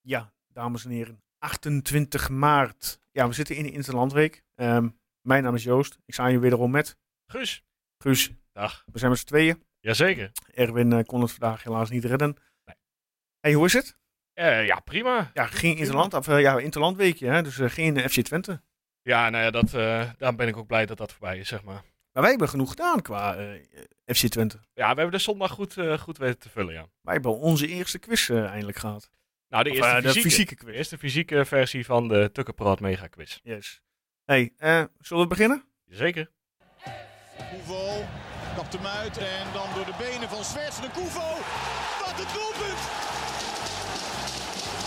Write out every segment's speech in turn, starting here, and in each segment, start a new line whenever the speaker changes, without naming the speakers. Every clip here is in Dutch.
Ja, dames en heren. 28 maart. Ja, we zitten in de Interlandweek. Ehm, mijn naam is Joost. Ik sta hier wederom met
Guus.
Guus.
Dag.
We zijn met z'n tweeën.
Jazeker.
Erwin eh, kon het vandaag helaas niet redden. Hey, hoe is het?
Eh, ja, prima.
Ja, geen Interland. Of, eh, ja, Interlandweekje. Hè? Dus eh, geen eh, FC Twente.
Ja, nou ja, dat, eh daar ben ik ook blij dat dat voorbij is, zeg maar.
Maar wij hebben genoeg gedaan qua eh, FC Twente.
Ja, we hebben de zondag goed, eh, goed weten te vullen, ja.
Wij hebben onze eerste quiz eh, eindelijk gehad.
Nou, de
Of,
eerste,
eh, de
fysieke,
fysieke
de
quiz.
eerste fysieke versie van de Tukkenpraat Mega Quiz.
Yes. Hey, eh, zullen we beginnen?
Zeker.
Koevo kapt hem uit en dan door de benen van Zwerts de Koevo. Wat een doelpunt!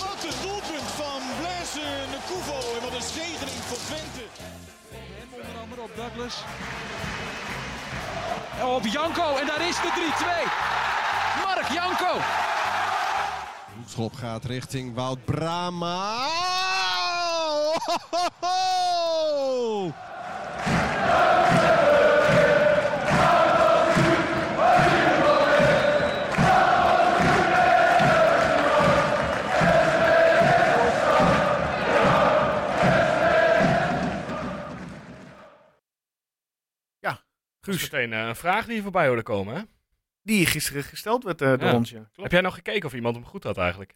Wat een doelpunt van Blaise de Koevo en wat een zegening voor Twente.
Hem onder andere op Douglas. En Op Janko en daar is de 3-2. Mark Janko.
Hoekschop gaat richting Wout Brama.
Dat is
Guus,
meteen eh, een vraag die voorbij hoorde komen, hè?
die gisteren gesteld werd eh, door
Ja.
ons. Ja.
Heb jij nog gekeken of iemand hem goed had eigenlijk?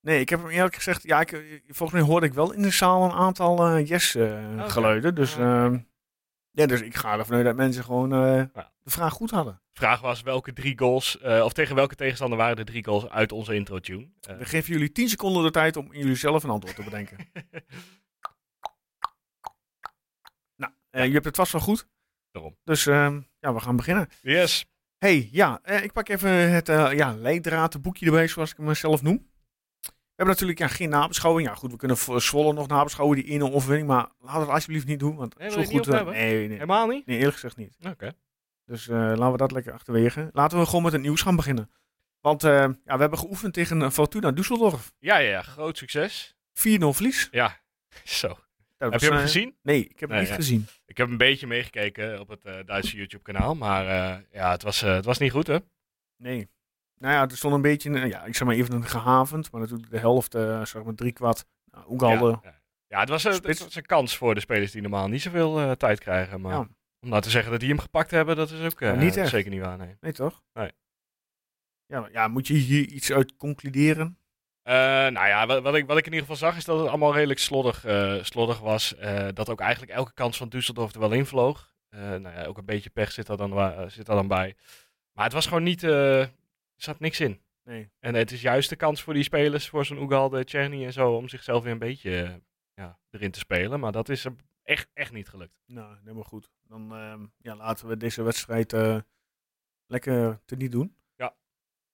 Nee, ik heb hem eerlijk gezegd. Ja, ik, eh, volgens mij hoorde ik wel in de zaal een aantal eh,
Oh, Oké.
yes-geluiden. Dus,
Ja.
ehm, ja, dus ik ga ervan uit dat mensen gewoon eh,
Ja.
de vraag goed hadden.
De vraag was welke drie goals, eh, of tegen welke tegenstander waren de drie goals uit onze intro-tune? Eh,
We geven jullie 10 seconden de tijd om jullie zelf een antwoord te bedenken. nou, eh, je hebt het vast wel goed.
Daarom.
Dus ehm, ja, we gaan beginnen.
yes.
hey, ja, eh, ik pak even het eh ja, leidraadboekje erbij, zoals ik hem zelf noem. We hebben natuurlijk ja, geen nabeschouwing. Ja, goed, we kunnen voor Zwolle nog nabeschouwen, die 1-0 overwinning. Maar laten we dat alsjeblieft niet doen, want
Nee, wil
zo
je het niet
goed... eh,
opnemen?
nee, nee,
Helemaal niet?
nee, eerlijk gezegd niet.
Oké.
Dus eh, laten we dat lekker achterwege. Laten we gewoon met het nieuws gaan beginnen. Want eh, ja, we hebben geoefend tegen eh, Fortuna Düsseldorf. 4-0
Ja, ja, ja. Groot succes.
verlies.
Ja. Zo.
Dat
Heb
was,
je hem
eh,
gezien?
Nee, ik heb
Nee,
hem niet
ja.
gezien.
Ik heb een beetje meegekeken op het eh, Duitse YouTube-kanaal, maar eh, ja, het was, eh, het was niet goed, hè?
Nee. Nou ja, er stond een beetje, een- ja, ik zeg maar even een gehavend, maar natuurlijk de helft, eh, zeg maar drie kwart. Nou, Oegalde.
Ja, ja. ja het, was, eh, het
Spits.
was een kans voor de spelers die normaal niet zoveel eh, tijd krijgen. Maar
Ja.
om nou te zeggen dat die hem gepakt hebben, dat is ook eh,
Ja, niet echt.
zeker niet waar, nee.
Nee, toch?
Nee.
Ja, maar- ja, moet je hier iets uit concluderen?
Eh, nou ja, wat, wat ik, wat ik in ieder geval zag is dat het allemaal redelijk sloddig, eh, sloddig was. Eh, dat ook eigenlijk elke kans van Düsseldorf er wel in vloog. Eh, nou ja, ook een beetje pech zit daar dan, wa- eh, zit daar dan bij. Maar het was gewoon niet... eh, er zat niks in.
Nee.
En het is juist de kans voor die spelers, voor zo'n Ugalde, Czerny en zo, om zichzelf weer een beetje eh, ja, erin te spelen. Maar dat is hem echt, echt niet gelukt.
Nou, helemaal goed. Dan ehm, ja, laten we deze wedstrijd eh lekker teniet doen.
Ja.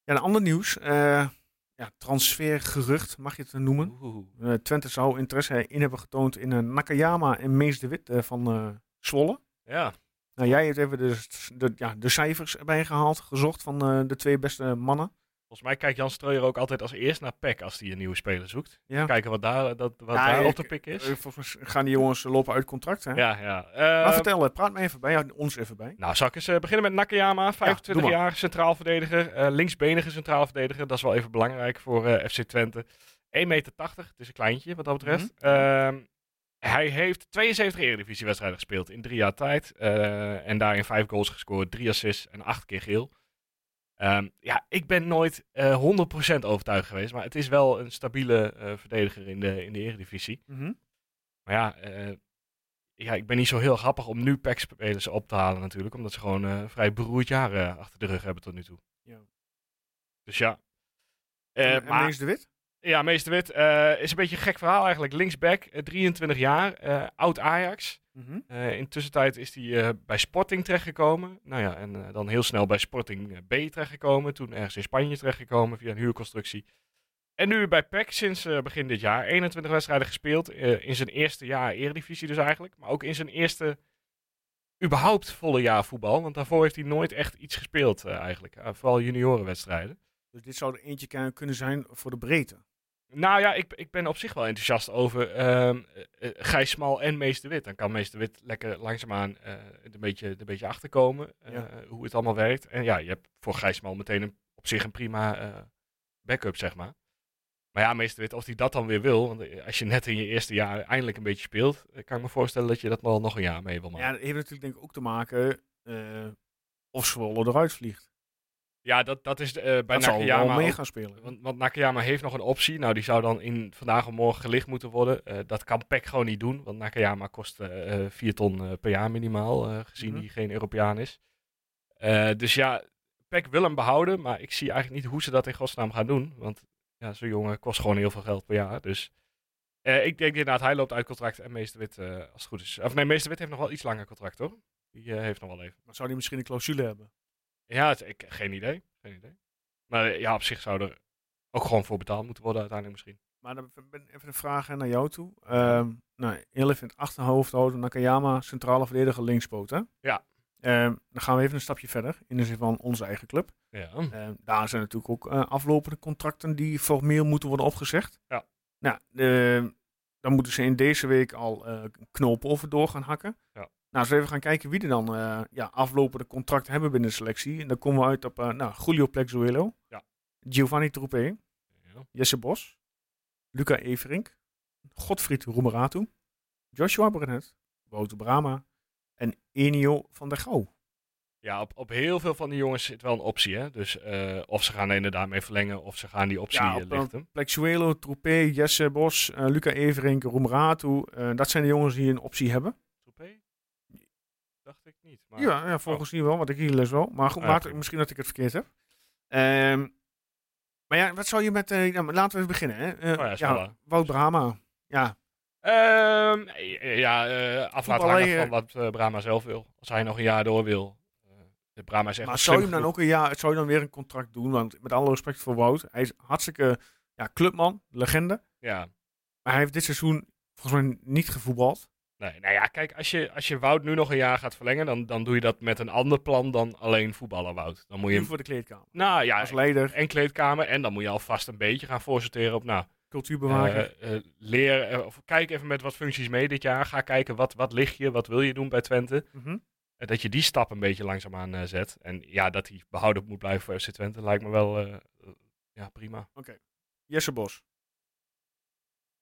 Ja, een ander nieuws. eh, ja, transfergerucht, mag je het noemen. Eh, Twente zou interesse in hebben getoond in eh, Nakayama en Mees de Wit eh, van eh, Zwolle.
Ja,
Nou, jij hebt even de, de, ja, de cijfers erbij gehaald, gezocht van eh, de twee beste mannen.
volgens mij kijkt Jan Streuer ook altijd als eerst naar PEC als hij een nieuwe speler zoekt.
Ja.
Kijken wat daar, dat, wat
Ja,
daar
ik-
op de pik is.
Eh, volgens mij gaan die jongens eh, lopen uit contract, hè?
ja, ja.
maar
Eh,
vertel, eh, praat me even bij, ja, ons even bij.
Nou, zal ik eens eh, beginnen met Nakayama, 25
doe maar.
jaar, centraal verdediger, eh, linksbenige centraal verdediger. Dat is wel even belangrijk voor eh, FC Twente. 1,80 meter, het is een kleintje wat dat betreft.
Mhm.
Ehm, hij heeft 72 eredivisiewedstrijden gespeeld in drie jaar tijd. eh, en daarin vijf goals gescoord, drie assists en acht keer geel. Ehm, ja, ik ben nooit eh, 100% overtuigd geweest, maar het is wel een stabiele eh, verdediger in de, in de eredivisie. Maar ja, eh, ja, ik ben niet zo heel grappig om nu PEC-spelers op te halen natuurlijk. Omdat ze gewoon eh, een vrij beroerd jaar eh, achter de rug hebben tot nu toe.
Ja.
Dus ja. Eh,
En- en
maar,
Mees de Wit?
Ja, Meester Wit eh, is een beetje een gek verhaal eigenlijk. Linksback, eh, 23 jaar, eh, oud Ajax. Eh intussen tijd is hij eh, bij Sporting terechtgekomen. Nou ja, en eh, dan heel snel bij Sporting eh, B terechtgekomen. Toen ergens in Spanje terechtgekomen via een huurconstructie. En nu bij PEC sinds eh, begin dit jaar. 21 wedstrijden gespeeld. eh, in zijn eerste jaar Eredivisie dus eigenlijk. Maar ook in zijn eerste überhaupt volle jaar voetbal. Want daarvoor heeft hij nooit echt iets gespeeld eh, eigenlijk. Eh, vooral juniorenwedstrijden.
Dus dit zou er eentje ki- kunnen zijn voor de breedte.
Nou ja, ik, ik ben op zich wel enthousiast over ehm eh, eh, Gijs Smal en Meester Wit. Dan kan Meester Wit lekker langzaamaan eh een, beetje, een beetje achterkomen eh,
Ja.
hoe het allemaal werkt. En ja, je hebt voor Gijs Smal meteen een, op zich een prima eh, backup, zeg maar. Maar Maar ja, meester weet of hij dat dan weer wil. Want eh, als je net in je eerste jaar eindelijk een beetje speelt, eh, kan ik me voorstellen dat je dat wel nog een jaar mee wil maken.
Ja, dat heeft natuurlijk denk ik ook te maken eh, of Zwolle eruit vliegt.
Ja, dat, dat is eh, bij
Dat zal wel
Nakayama.
mee
ook-
gaan spelen.
want, want Nakayama heeft nog een optie. Nou, die zou dan in vandaag of morgen gelicht moeten worden. Eh, dat kan PEC gewoon niet doen. Want Nakayama kost eh eh, 4 ton eh, per jaar minimaal. eh, gezien
Mhm.
die geen Europeaan is. Eh, dus ja, PEC wil hem behouden. Maar ik zie eigenlijk niet hoe ze dat in godsnaam gaan doen. Want ja, zo'n jongen kost gewoon heel veel geld per jaar. Dus eh, ik denk inderdaad, hij loopt uit contract. En Meester Wit, eh, als het goed is. Of nee, Meester Wit heeft nog wel iets langer contract hoor. Die eh, heeft nog wel even.
Maar zou die misschien een clausule hebben?
Ja, het- ik, geen idee. Geen idee. Maar eh, ja, op zich zou er ook gewoon voor betaald moeten worden uiteindelijk misschien.
Maar dan ben ik even een vraag naar jou toe. Ehm nou, Elif in het achterhoofd houden. Nakayama, centrale verdediger, linkspoot. Hè?
Ja.
Ehm, dan gaan we even een stapje verder. In de zin van onze eigen club.
Ja.
Ehm, daar zijn natuurlijk ook eh, aflopende contracten die formeel moeten worden opgezegd.
Ja.
Nou, ehm, dan moeten ze in deze week al eh, knopen over door gaan hakken.
Ja.
Nou, als we even gaan kijken wie er dan eh, ja, aflopende contracten hebben binnen de selectie. En dan komen we uit op eh, nou, Julio Plexuelo,
Ja.
Giovanni Troepé,
ja.
Jesse Bos, Luca Everink, Godfried Roemeratu, Joshua Brenet, Wouter Brama en Enio van der Gouw.
Ja, op, op heel veel van die jongens zit wel een optie. Hè? Dus eh, of ze gaan er inderdaad mee verlengen, of ze gaan die optie
Ja,
eh,
op-
lichten.
Plexuelo, Troepé, Jesse Bos, eh, Luca Everink, Roemeratu. eh, dat zijn de jongens die een optie hebben.
Troepé? Dacht ik niet. Maar... Oh.
Ja, ja, volgens mij wel, want ik hier les wel. Maar goed,
Ah,
laat-
prima.
misschien dat ik het verkeerd heb. Ehm, maar ja, wat zou je met... eh, nou, laten we even beginnen. Hè. Eh,
Oh ja,
ja,
Sparta.
Wout Brama. Ja,
Ehm, eh, ja, eh af laten
Voetballer,
hangen
eh,
van wat eh, Brahma zelf wil. Als hij nog een jaar door wil. Eh, de Brahma is echt
maar
slim
zou je hem dan
genoeg.
ook een jaar, zou je dan weer een contract doen? Want met alle respect voor Wout, hij is hartstikke ja, clubman, legende.
Ja,
Maar hij heeft dit seizoen volgens mij niet gevoetbald.
Nee, nou ja, kijk, als je, als je Wout nu nog een jaar gaat verlengen, dan, dan doe je dat met een ander plan dan alleen voetballen Wout. Dan moet je
Nu
hem,
voor de kleedkamer.
nou ja,
Als leider,
en kleedkamer en dan moet je alvast een beetje gaan voorsorteren op, nou,
cultuurbewaker.
eh, eh, leer, eh, of kijk even met wat functies mee dit jaar. Ga kijken, wat, wat lig je, wat wil je doen bij Twente.
Mhm.
Eh, dat je die stap een beetje langzaamaan eh zet. En ja, dat hij behouden moet blijven voor FC Twente lijkt me wel, eh, eh, ja, prima.
Jesse Bos.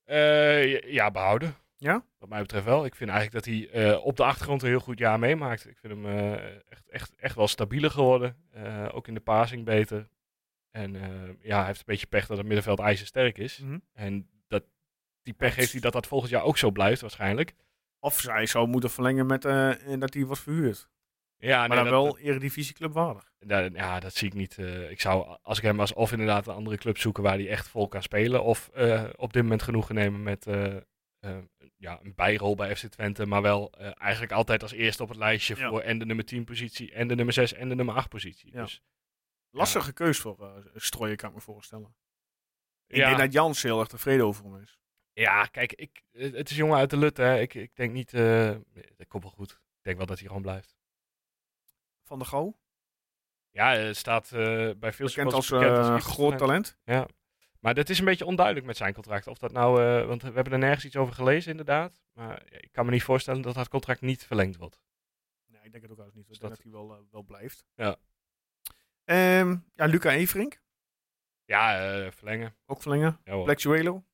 Eh, ja, ja, behouden.
Ja?
Wat mij betreft wel. Ik vind eigenlijk dat hij eh, op de achtergrond een heel goed jaar meemaakt. Ik vind hem eh, echt, echt, echt wel stabieler geworden. Eh, ook in de passing beter. En eh, ja, hij heeft een beetje pech dat het middenveld ijzersterk is.
Mhm.
En dat, die pech heeft hij dat dat volgend jaar ook zo blijft waarschijnlijk.
Of zij zou moeten verlengen met eh, en dat hij wordt verhuurd.
Ah, Ja,
Maar dan wel eredivisieclub waardig.
Da- ja, dat zie ik niet. Eh, ik zou, als ik hem was, of inderdaad een andere club zoeken waar hij echt vol kan spelen. Of eh, op dit moment genoegen nemen met eh, eh, ja, een bijrol bij FC Twente. Maar wel eh, eigenlijk altijd als eerste op het lijstje
Ja.
voor en de nummer 10 positie, en de nummer 6 en de nummer 8 positie.
Ja.
Dus,
Lastige keus voor eh strooien, kan ik me voorstellen. Ik
ja,
denk dat Jans heel erg tevreden over hem is.
ja, kijk, ik, het het is jongen uit de Lut. Hè. Ik, ik denk niet, eh dat komt wel goed. Ik denk wel dat hij gewoon blijft.
Van der Gouw,
Ja, het staat eh, bij veel
bekend als,
bekend
eh,
keeper.
groot talent.
Ja. Maar dat is een beetje onduidelijk met zijn contract. Of dat nou, eh, want we hebben er nergens iets over gelezen, inderdaad. Maar ik kan me niet voorstellen dat dat contract niet verlengd wordt.
Nee, ik denk het ook juist niet. Ik
Dus
denk dat
dat-
hij wel, eh, wel blijft.
Ja.
Ehm, ja, Luca Everink,
Ja, eh, verlengen.
ook verlengen.
Ja, hoor.
Plexuelo,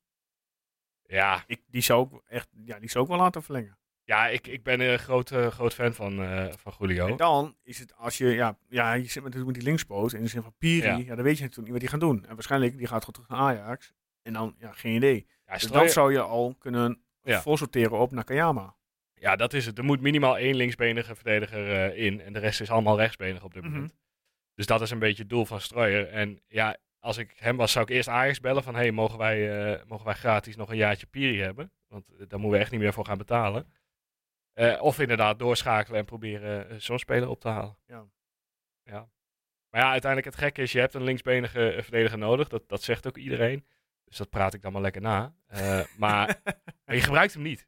ja,
ik, die, zou ook echt, ja, die zou ik wel laten verlengen.
ja ik, ik ben een groot, eh, groot fan van, eh, van Julio.
En dan is het als je, ja, ja je zit met, met die linkspoot in de zin van Piri, ja.
Ja.
dan weet je natuurlijk niet wat die gaan doen. En waarschijnlijk, die gaat gewoon terug naar Ajax. En dan, ja, geen idee.
ja,
Dus
Strooijer-
dan zou je al kunnen
Ja.
voorsorteren op Nakayama.
ja, dat is het. Er moet minimaal één linksbenige verdediger eh, in. En de rest is allemaal rechtsbenig op dit
Mhm.
moment. Dus dat is een beetje het doel van Strooier. En ja, als ik hem was, zou ik eerst Ajax bellen van... hey, mogen, wij, eh, mogen wij gratis nog een jaartje Piri hebben? Want eh, daar moeten we echt niet meer voor gaan betalen. Eh, of inderdaad doorschakelen en proberen eh, zo'n speler op te halen.
Ja.
ja. Maar ja, uiteindelijk het gekke is, je hebt een linksbenige eh, verdediger nodig. Dat, dat zegt ook iedereen. Dus dat praat ik dan maar lekker na. Eh, maar, maar je gebruikt hem niet.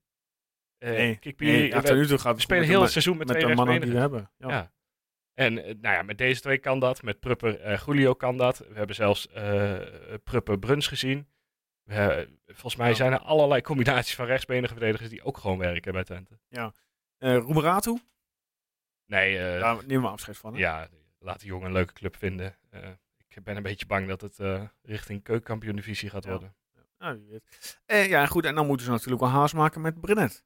Eh,
Nee,
Kik Piri,
Nee, ja,
we-
tot nu toe gaat het
we
goed
spelen
met
heel
de
het seizoen met,
ma- met
twee
de mannen die we
rechtsbenigen.
hebben. Ja.
Ja. En eh, nou ja, met deze twee kan dat. Met Prupper eh Julio kan dat. We hebben zelfs eh Prupper Bruns gezien. We, eh, volgens mij
Ja.
zijn er allerlei combinaties van rechtsbenige verdedigers die ook gewoon werken bij Twente.
Eh, Roemeratu,
Nee, eh,
daar nemen we afscheid van. hè?
ja, laat de jongen een leuke club vinden. Eh, ik ben een beetje bang dat het eh, richting keukenkampioen divisie gaat
Ja.
worden.
Nou, wie weet. Eh, ja, goed. En dan moeten ze natuurlijk wel haast maken met Brenet.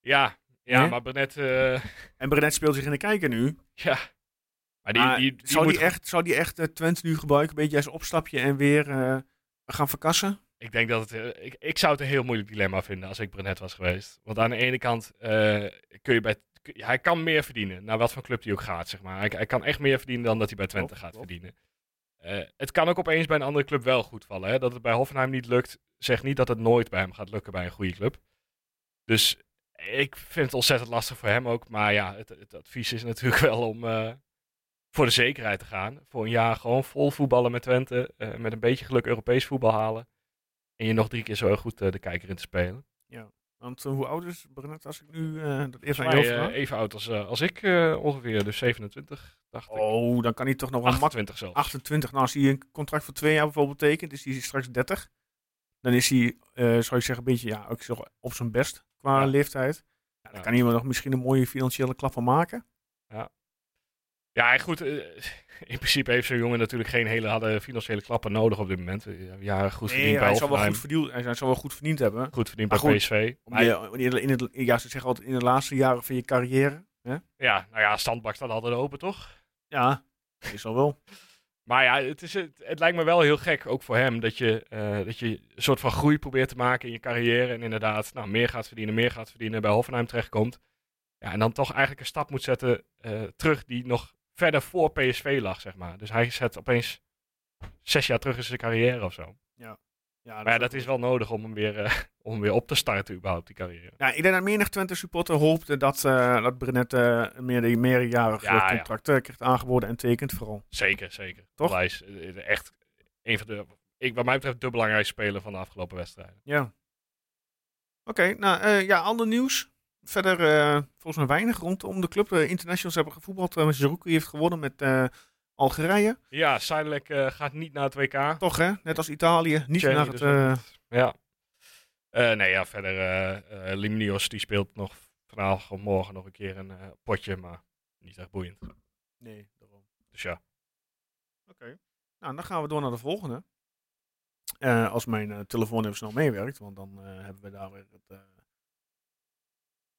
Ja, ja
Hè?
maar Brenet... eh,
En Brenet speelt zich in de kijker nu.
ja. Maar die,
Maar
die, die
zou,
moet
die echt, zou die echt eh, Twente nu gebruiken? Een beetje als opstapje en weer eh, gaan verkassen?
Ik denk dat het. eh, ik, ik zou het een heel moeilijk dilemma vinden als ik Brenet was geweest. Want aan de ene kant eh, kun je bij. kun- Hij kan meer verdienen, naar wat voor club hij ook gaat, zeg maar. Hij, hij kan echt meer verdienen dan dat hij bij Twente
Klopt,
gaat
klopt.
verdienen. Eh, het kan ook opeens bij een andere club wel goed vallen. Hè? Dat het bij Hoffenheim niet lukt, zegt niet dat het nooit bij hem gaat lukken bij een goede club. Dus ik vind het ontzettend lastig voor hem ook. Maar ja, het, het advies is natuurlijk wel om eh, voor de zekerheid te gaan. Voor een jaar gewoon vol voetballen met Twente. eh, met een beetje geluk Europees voetbal halen. En je nog drie keer zo goed eh, de kijker in te spelen.
Want eh, hoe oud is Brenet als ik nu eh, dat even aan jou
Volgens mij, eh,
vraag?
even oud als, eh, als ik eh, ongeveer, dus 27, dacht ik.
Oh, dan kan hij toch nog wel makkelijk.
28 zelfs.
28. Nou, als hij een contract voor twee jaar bijvoorbeeld tekent, is hij straks 30. Dan is hij, eh, zou je zeggen, een beetje ja, ook zo op zijn best qua
Ja.
leeftijd. Ja,
Ja.
daar kan iemand nog misschien een mooie financiële klap van maken.
Ja, en goed, eh, in principe heeft zo'n jongen natuurlijk geen hele harde financiële klappen nodig op dit moment. Eh, Ja, goed verdiend bij
hij, zal wel
Hoffenheim,
goed verdiend, hij zou wel goed verdiend hebben.
goed verdiend bij
Maar goed,
PSV.
Om
Maar
je- in, in het, ja, ze zeggen altijd in de laatste jaren van je carrière. Hè?
ja, nou ja, standbak staat altijd open, toch?
Ja, is al wel.
Maar ja, het, is, het, het lijkt me wel heel gek, ook voor hem, dat je, eh, dat je een soort van groei probeert te maken in je carrière. En inderdaad, nou, meer gaat verdienen, meer gaat verdienen, bij Hoffenheim terechtkomt. Ja, en dan toch eigenlijk een stap moet zetten eh, terug die nog verder voor PSV lag, zeg maar. Dus hij zet opeens zes jaar terug in zijn carrière of zo.
Ja,
Maar ja, dat is wel nodig om hem weer, eh, om hem weer op te starten, überhaupt, die carrière.
Ja, ik denk dat menig Twente supporter hoopte dat, eh dat Brenet eh, een meer, meerjarig
Ja,
eh,
ja.
contract eh, krijgt aangeboden en tekent vooral.
Zeker, zeker.
Toch?
Hij is eh, echt een van de, ik, wat mij betreft, de belangrijkste speler van de afgelopen wedstrijden.
Ja. Oké, nou eh, ja, ander nieuws. Verder eh, volgens mij weinig rondom de club. De internationals hebben gevoetbald. Uh, Zerouki heeft gewonnen met eh, Algerije.
Ja, Seidelijk eh, gaat niet naar het WK.
Toch hè, net als Italië. Niet
Tsjechië
naar het...
dus
eh,
Ja. Eh, nee, ja, verder. eh eh, Limnios die speelt nog vanavond of morgen nog een keer een eh, potje, maar niet echt boeiend.
nee, daarom.
Dus ja.
Oké. Nou, dan gaan we door naar de volgende. Eh, als mijn eh, telefoon even snel meewerkt, want dan eh, hebben we daar weer het, eh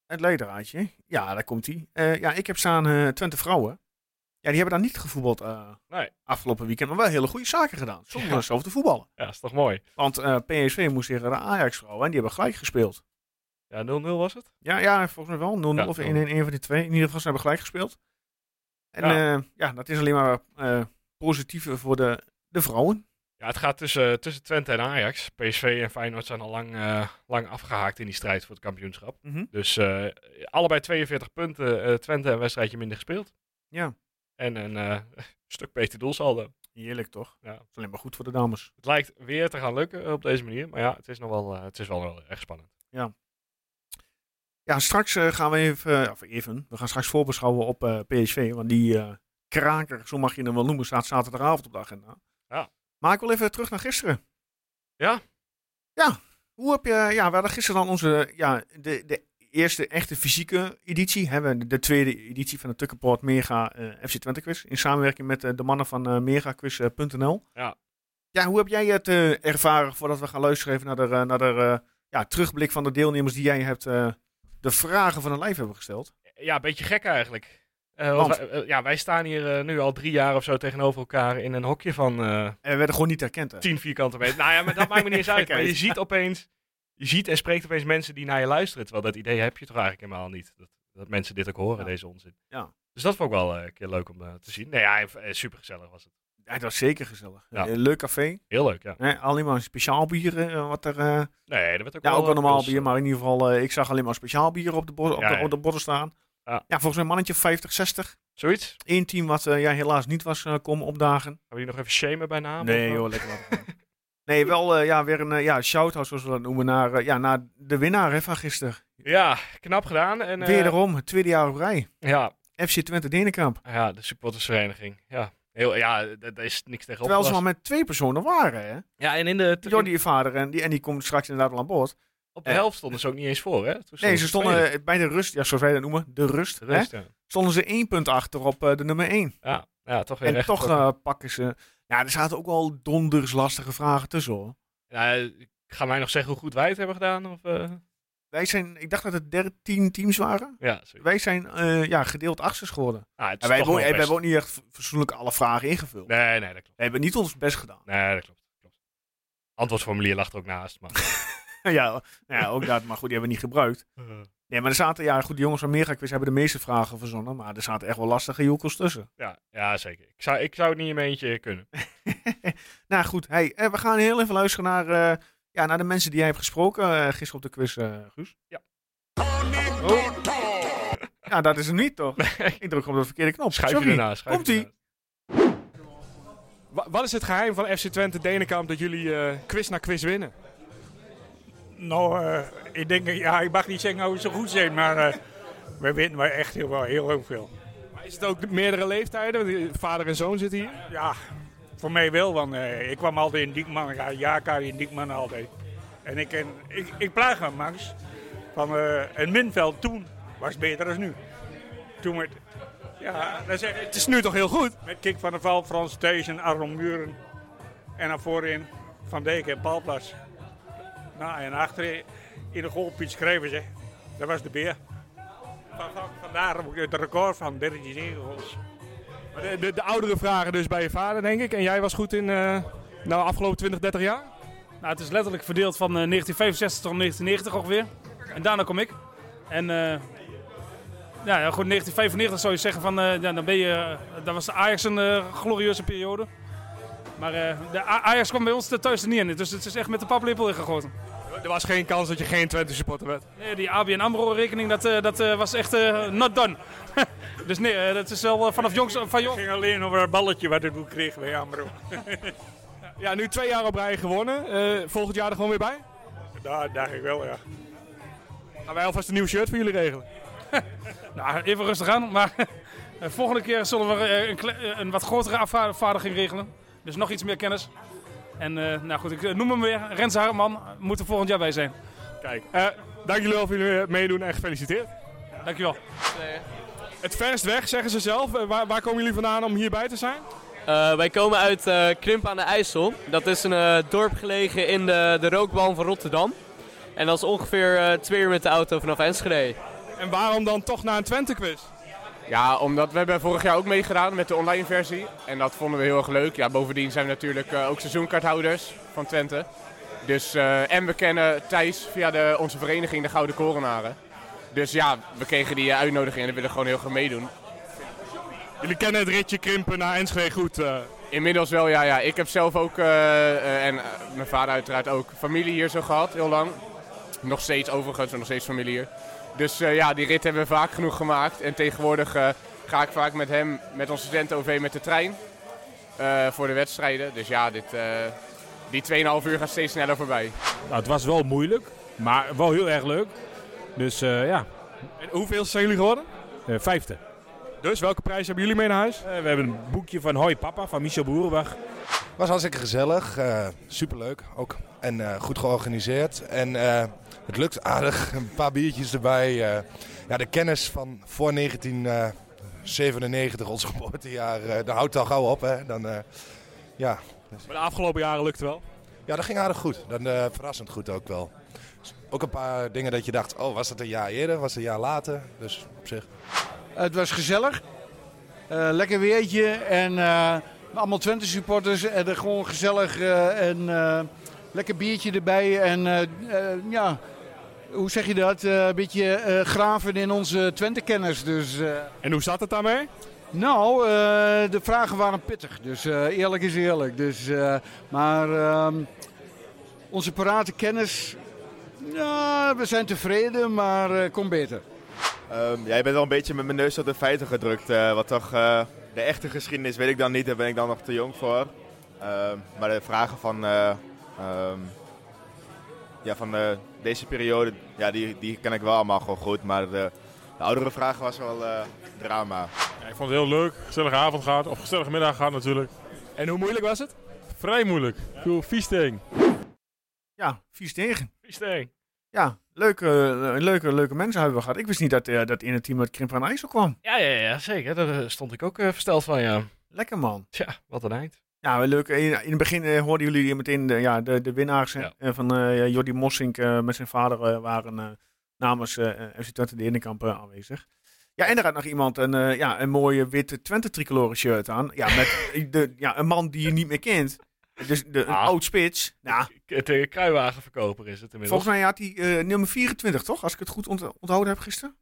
het leidraadje. Ja, daar komt hij. ja, ik heb staan eh Twente Vrouwen. Ja, die hebben daar niet gevoetbald eh,
Nee.
afgelopen weekend, maar wel hele goede zaken gedaan. Zonder
Ja.
zelf te voetballen.
Ja, is toch mooi.
Want eh, PSV moest tegen de Ajax-vrouwen en die hebben gelijk gespeeld.
Ja, 0-0 was het?
Ja, ja volgens mij wel. 0-0
Ja,
of 1-1,
ja.
een van die twee. In ieder geval, ze hebben gelijk gespeeld. En
Ja.
ja, ja dat is alleen maar eh positiever voor de, de vrouwen.
Ja, het gaat tussen, eh, tussen Twente en Ajax. PSV en Feyenoord zijn al lang, eh, lang afgehaakt in die strijd voor het kampioenschap.
Mhm.
Dus eh, allebei 42 punten. eh, Twente een wedstrijdje minder gespeeld.
Ja.
En een eh, stuk beter doelsaldo.
Heerlijk toch?
Ja.
Dat is alleen maar goed voor de dames.
Het lijkt weer te gaan lukken eh, op deze manier. Maar ja, het is nog wel, eh, het is wel, wel echt spannend.
Ja, straks eh, gaan we even, eh, of even, we gaan straks voorbeschouwen op eh, PSV. Want die eh, kraker, zo mag je hem wel noemen, staat zaterdagavond op de agenda.
Ja.
Maar ik wil even terug naar gisteren.
Ja?
Ja. Hoe heb je, ja, we hadden gisteren dan onze, ja, de, de eerste echte fysieke editie. Hè, we- de tweede editie van de Tukkenpoort Mega eh, FC Twente Quiz. In samenwerking met eh, de mannen van eh, megaquiz.nl.
Ja.
Ja, hoe heb jij het eh, ervaren voordat we gaan luisteren even naar de, eh, naar de eh, ja, terugblik van de deelnemers die jij hebt, eh, de vragen van een lijf hebben gesteld?
ja, een beetje gek eigenlijk. Eh,
Want?
want wij- eh, ja, wij staan hier eh, nu al drie jaar of zo tegenover elkaar in een hokje van eh
En we werden gewoon niet herkend. Hè?
tien vierkante meter. Nou ja, maar dat maakt me niet eens uit. Maar je
Gekheid.
ziet opeens, je ziet en spreekt opeens mensen die naar je luisteren. Terwijl dat idee heb je toch eigenlijk helemaal niet. Dat, dat mensen dit ook horen,
Ja.
deze onzin.
Ja.
Dus dat vond ik wel eh, een keer leuk om eh, te zien. Nee, ja, en, eh, supergezellig was het.
Ja, dat was zeker gezellig.
Ja.
Een leuk café.
Heel leuk, ja.
Hè? Alleen maar speciaal bier. eh, wat er, eh,
Nee, er werd ook
ja,
wel...
ook wel
eh,
normaal
ons,
bier, maar in ieder geval, eh, ik zag alleen maar speciaal bier op de, bord, op
Ja,
de,
ja.
op de borden staan.
Ja.
Ja. volgens mij een mannetje 50, 60.
Zoiets?
Eén team wat eh, ja, helaas niet was eh, komen opdagen.
Gaan we die nog even shamen bij naam?
nee,
of zo?
joh, lekker laten gaan. Nee, wel eh, ja, weer een eh, ja, shout-out, zoals we dat noemen, naar, eh, ja, naar de winnaar hè, van gisteren.
Ja, knap gedaan. En, eh,
Wederom, het tweede jaar op rij.
ja,
FC Twente Denenkamp.
Ja, de supportersvereniging. Ja, heel, ja daar daar is niks tegen
Terwijl ze maar
opgelast.
met twee personen waren. Hè?
Ja, en in de,
Jordi je vader en die, en die komt straks inderdaad wel aan boord.
op de helft stonden ze ook niet eens voor, hè? Toen
Nee, ze stonden
tweede.
eh, bij de rust, ja, zoals wij dat noemen, de rust.
De
hè,
rest, ja.
stonden ze één punt achter op eh, de nummer één.
Ja, ja, toch weer
En
echt.
toch
ook-
eh, pakken ze. Ja, er zaten ook wel donders lastige vragen tussen hoor.
Ja, Gaan wij nog zeggen hoe goed wij het hebben gedaan? Of, eh?
Wij zijn, ik dacht dat het 13 teams waren.
Ja, zoiets.
Wij zijn eh, ja, gedeeld achtste geworden.
Ah, het is
En wij,
toch
hebben, ook- eh, wij
wel best.
hebben ook niet echt v- fatsoenlijk alle vragen ingevuld.
Nee, nee, dat klopt.
We hebben niet ons best gedaan.
Nee, dat klopt. klopt. Antwoordformulier lag er ook naast, maar...
ja, nou ja, ook dat, maar goed, die hebben we niet gebruikt. Nee, maar er zaten, ja, goed, de jongens van Mega Quiz hebben de meeste vragen verzonnen. Maar er zaten echt wel lastige joekels tussen.
ja, ja, zeker. Ik zou, ik zou het niet in mijn eentje kunnen.
Nou goed, hey, eh, we gaan heel even luisteren naar, eh, ja, naar de mensen die jij hebt gesproken eh, gisteren op de quiz, eh, Guus.
Ja.
Oh. Ja, dat is hem niet, toch? Ik druk op de verkeerde knop.
Schuif je
Sorry.
ernaast. schuif je
Komt-ie.
ernaast.
Wa- Wat is het geheim van FC Twente Denenkamp dat jullie eh, quiz na quiz winnen?
Nou, eh, ik denk, ja, ik mag niet zeggen hoe ze goed zijn, maar eh, we winnen maar echt heel, wel heel, heel veel.
Maar is het ook de meerdere leeftijden? Want, eh, Vader en zoon zitten hier.
Ja, voor mij wel, want eh, ik kwam altijd in Diekman, ja, Jaka in Diekman altijd. En ik, ken- ik, ik plaag hem, Max, van eh, een minveld toen was beter dan nu. Toen met, ja, dan zeg ik,
Het is nu toch heel goed?
met Kik van der Val, Frans Thijs en Aron Muren. En naar voorin Van Dijk en Palplas. Nou, en achterin in de goal Piet Schrijvers, hè. Dat was de beer. Van, van, vandaar ook het record van 13 ingels.
Maar De, de, de oudere vragen dus bij je vader, denk ik. En jij was goed in eh nou, afgelopen 20, 30 jaar?
Nou, het is letterlijk verdeeld van eh, 1965 tot 1990 ongeveer. En daarna kom ik. En eh, ja, ja, goed, 1995 zou je zeggen van, eh, ja, dan ben je, eh, dat was de Ajax een eh, glorieuze periode. Maar eh, de A- Ajax kwam bij ons er thuis er niet in, dus het is echt met de paplepel ingegoten.
Er was geen kans dat je geen Twente supporter werd.
Nee, die ABN AMRO-rekening, dat, eh, dat eh, was echt eh, not done. dus nee, eh, dat is wel eh, vanaf jongs, van
Het
jongs.
ging alleen over het balletje wat ik toen kreeg bij Amro.
Ja, nu twee jaar op rij gewonnen. Eh, volgend jaar er gewoon weer bij.
Daar dacht ik wel, ja.
Gaan wij alvast een nieuw shirt voor jullie regelen.
Nou, even rustig aan, maar eh, volgende keer zullen we eh, een, kle- eh, een wat grotere afvaardiging regelen. Dus nog iets meer kennis. En eh, nou goed, ik eh, noem hem weer. Rens Hartman moet er volgend jaar bij zijn.
Kijk, eh, dank jullie wel voor jullie eh, meedoen en gefeliciteerd.
Dankjewel.
Het verst weg, zeggen ze zelf. Eh, waar, waar komen jullie vandaan om hierbij te zijn?
Eh, wij komen uit eh, Krimp aan de IJssel. Dat is een eh, dorp gelegen in de, de rookbaan van Rotterdam. En dat is ongeveer eh, twee uur met de auto vanaf Enschede.
En waarom dan toch naar een Twente-quiz?
Ja, omdat we hebben vorig jaar ook meegedaan met de online versie. En dat vonden we heel erg leuk. Ja, bovendien zijn we natuurlijk eh, ook seizoenkaarthouders van Twente. Dus, eh, en we kennen Thijs via de, onze vereniging de Gouden Korenaren. Dus ja, we kregen die eh, uitnodiging en we willen gewoon heel graag meedoen.
Jullie kennen het ritje krimpen naar Enschede goed. eh.
Inmiddels wel, ja. ja. Ik heb zelf ook, eh, eh, en eh, mijn vader uiteraard ook, familie hier zo gehad, heel lang. Nog steeds overigens, maar nog steeds familie hier. Dus eh, ja, die rit hebben we vaak genoeg gemaakt. En tegenwoordig eh, ga ik vaak met hem, met onze studenten-OV, met de trein. eh, voor de wedstrijden. Dus ja, dit, eh, die 2,5 uur gaat steeds sneller voorbij.
Nou, het was wel moeilijk, maar wel heel erg leuk. Dus eh, ja,
En hoeveel zijn jullie geworden?
eh, vijfde.
Dus welke prijs hebben jullie mee naar huis?
Eh, we hebben een boekje van Hoi Papa van Michel Boerenbach.
Was hartstikke gezellig, eh, superleuk ook. En eh, goed georganiseerd. En eh, het lukt aardig, een paar biertjes erbij. eh. ja, de kennis van voor 1997, ons geboortejaar, eh, daar houdt het al gauw op. Hè? Dan, eh, ja.
Maar de afgelopen jaren lukt het wel.
ja, dat ging aardig goed. Dan, eh, verrassend goed ook wel. Ook een paar dingen dat je dacht, oh was dat een jaar eerder, was dat een jaar later. Dus op zich.
Het was gezellig. Eh, lekker weertje en eh, allemaal Twente supporters. En er gewoon gezellig eh, en eh, lekker biertje erbij. En eh, eh, ja, hoe zeg je dat? Eh, een beetje eh, graven in onze Twente-kennis. Dus, eh,
En hoe zat het daarmee?
nou, eh, de vragen waren pittig. Dus eh, eerlijk is eerlijk. Dus, eh, maar ehm, onze parate kennis, ja, we zijn tevreden, maar eh komt beter.
jij Ehm, bent al een beetje met mijn neus op de feiten gedrukt. eh, wat toch, de echte geschiedenis weet ik dan niet, daar ben ik dan nog te jong voor. Ehm, maar de vragen van, eh, ehm, ja, van eh, deze periode, ja, die, die ken ik wel allemaal gewoon goed. Maar de, oudere vraag was wel eh, drama.
Ja, ik vond het heel leuk. Gezellige avond gehad, of gezellige middag gehad natuurlijk.
En hoe moeilijk was het?
Vrij moeilijk. Ik bedoel, vies ding.
Ja, vies tegen.
Vies ding.
Ja, leuke, eh, leuke, leuke mensen hebben we gehad. Ik wist niet dat, eh, dat in het team uit Krimp aan IJssel kwam.
Ja, ja, ja, zeker. Daar eh, stond ik ook eh, versteld van, ja.
Lekker man.
Tja, wat een eind.
Ja, wel leuk. In, in het begin eh, hoorden jullie meteen de, ja, de, de winnaars hè, eh, van eh Jordi Mossink eh, met zijn vader eh, waren eh, namens eh, FC Twente de Innenkamp eh, aanwezig. Ja, en er had nog iemand een, eh, ja, een mooie witte Twente tricolore shirt aan. Ja, met de, ja, een man die je niet meer kent. Dus de, een oud spits. Ja.
Het eh, kruiwagenverkoper is het inmiddels.
Volgens mij had hij eh, nummer 24, toch? Als ik het goed ont- onthouden heb gisteren.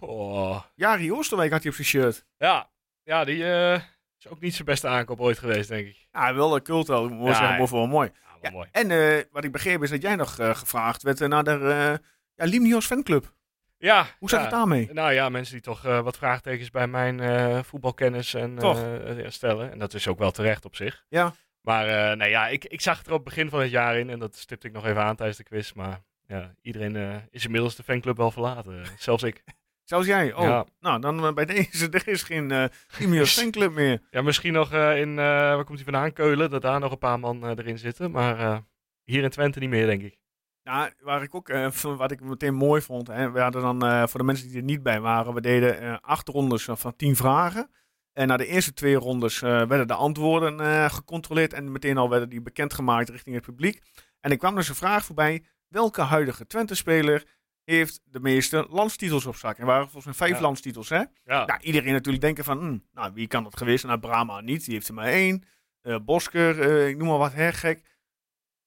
Oh.
Jari Oosterwijk had hij op zijn shirt.
Ja, ja die eh, is ook niet zijn beste aankoop ooit geweest, denk ik.
Ja, wel een cult wel. Moet ik
Ja,
zeggen,
ja.
wordt wel mooi.
Ja, mooi.
En eh, wat ik begreep is dat jij nog eh, gevraagd werd eh, naar de eh, ja, Limnios fanclub.
Ja,
Hoe zat
ja.
het daarmee?
Nou ja, mensen die toch eh, wat vraagtekens bij mijn eh, voetbalkennis en, eh,
Toch?
eh, stellen. En dat is ook wel terecht op zich.
Ja.
Maar eh, nou ja, ik, ik zag het er op het begin van het jaar in. En dat stipte ik nog even aan tijdens de quiz. Maar ja, iedereen eh, is inmiddels de fanclub wel verlaten. Zelfs ik.
Zelfs jij? Oh,
Ja.
nou dan eh, bij deze, er is geen eh Limnios fanclub meer.
Ja, misschien nog eh, in, eh, waar komt hij vandaan? Keulen, dat daar nog een paar man eh, erin zitten. Maar eh, hier in Twente niet meer, denk ik.
Ja, waar ik ook, eh, van wat ik meteen mooi vond, hè, we hadden dan eh, voor de mensen die er niet bij waren, we deden eh, acht rondes eh, van tien vragen. En na de eerste twee rondes eh, werden de antwoorden eh, gecontroleerd en meteen al werden die bekendgemaakt richting het publiek. En ik kwam dus een vraag voorbij, welke huidige Twente-speler heeft de meeste landstitels op zak? En er waren volgens mij vijf
Ja.
landstitels, hè?
Ja.
Nou, iedereen natuurlijk denken van, hm, nou, wie kan dat geweest? zijn? Nou, Brahma niet, die heeft er maar één. Eh, Bosker, eh, ik noem maar wat, hè, gek.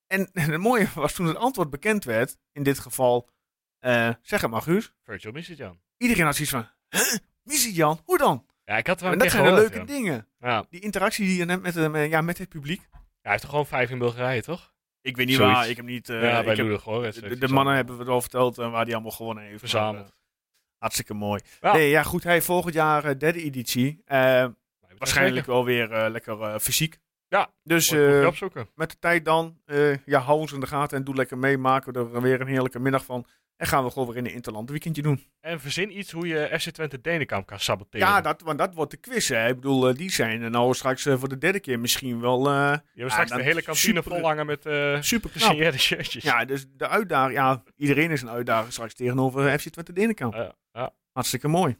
En het mooie was toen het antwoord bekend werd, in dit geval, eh, zeg het maar Guus,
Virtual Missitjan.
iedereen had zoiets van, huh, wie is die Jan? Hoe dan?
Ja, ik had het wel
en
een
dat
keer
zijn de
gehoord,
leuke
ja.
dingen.
Ja.
Die interactie die je hebt met, eh, met- ja, met het publiek.
Hij heeft er gewoon vijf in Bulgarije, toch?
Ik weet niet
Zoiets.
waar, ik heb niet... eh,
ja, bij
ik heb-
Ludig hoor.
de, de mannen hebben we het al verteld en waar die allemaal gewonnen heeft.
Verzameld.
Maar, eh, hartstikke mooi.
Ja.
Nee, ja, goed, hij volgend jaar eh, derde editie. Eh, waarschijnlijk wel weer eh, lekker eh, fysiek.
Ja,
dus
moet ik
eh,
opzoeken.
met de tijd dan, eh, ja, hou ons in de gaten en doe lekker mee. Maken we er weer een heerlijke middag van. En gaan we gewoon weer in een interland weekendje doen.
En verzin iets hoe je FC Twente Denenkamp kan saboteren.
Ja, dat, want dat wordt de quiz. Hè. Ik bedoel, eh, die zijn er nou straks eh, voor de derde keer misschien wel. eh,
je hebt
ja,
straks
dan
de hele kantine
super-
vol hangen met eh
Super knap.
gesigneerde shirtjes.
Ja, dus de uitdaging. Ja, iedereen is een uitdaging straks tegenover FC Twente Denenkamp.
Ja, ja.
Hartstikke mooi.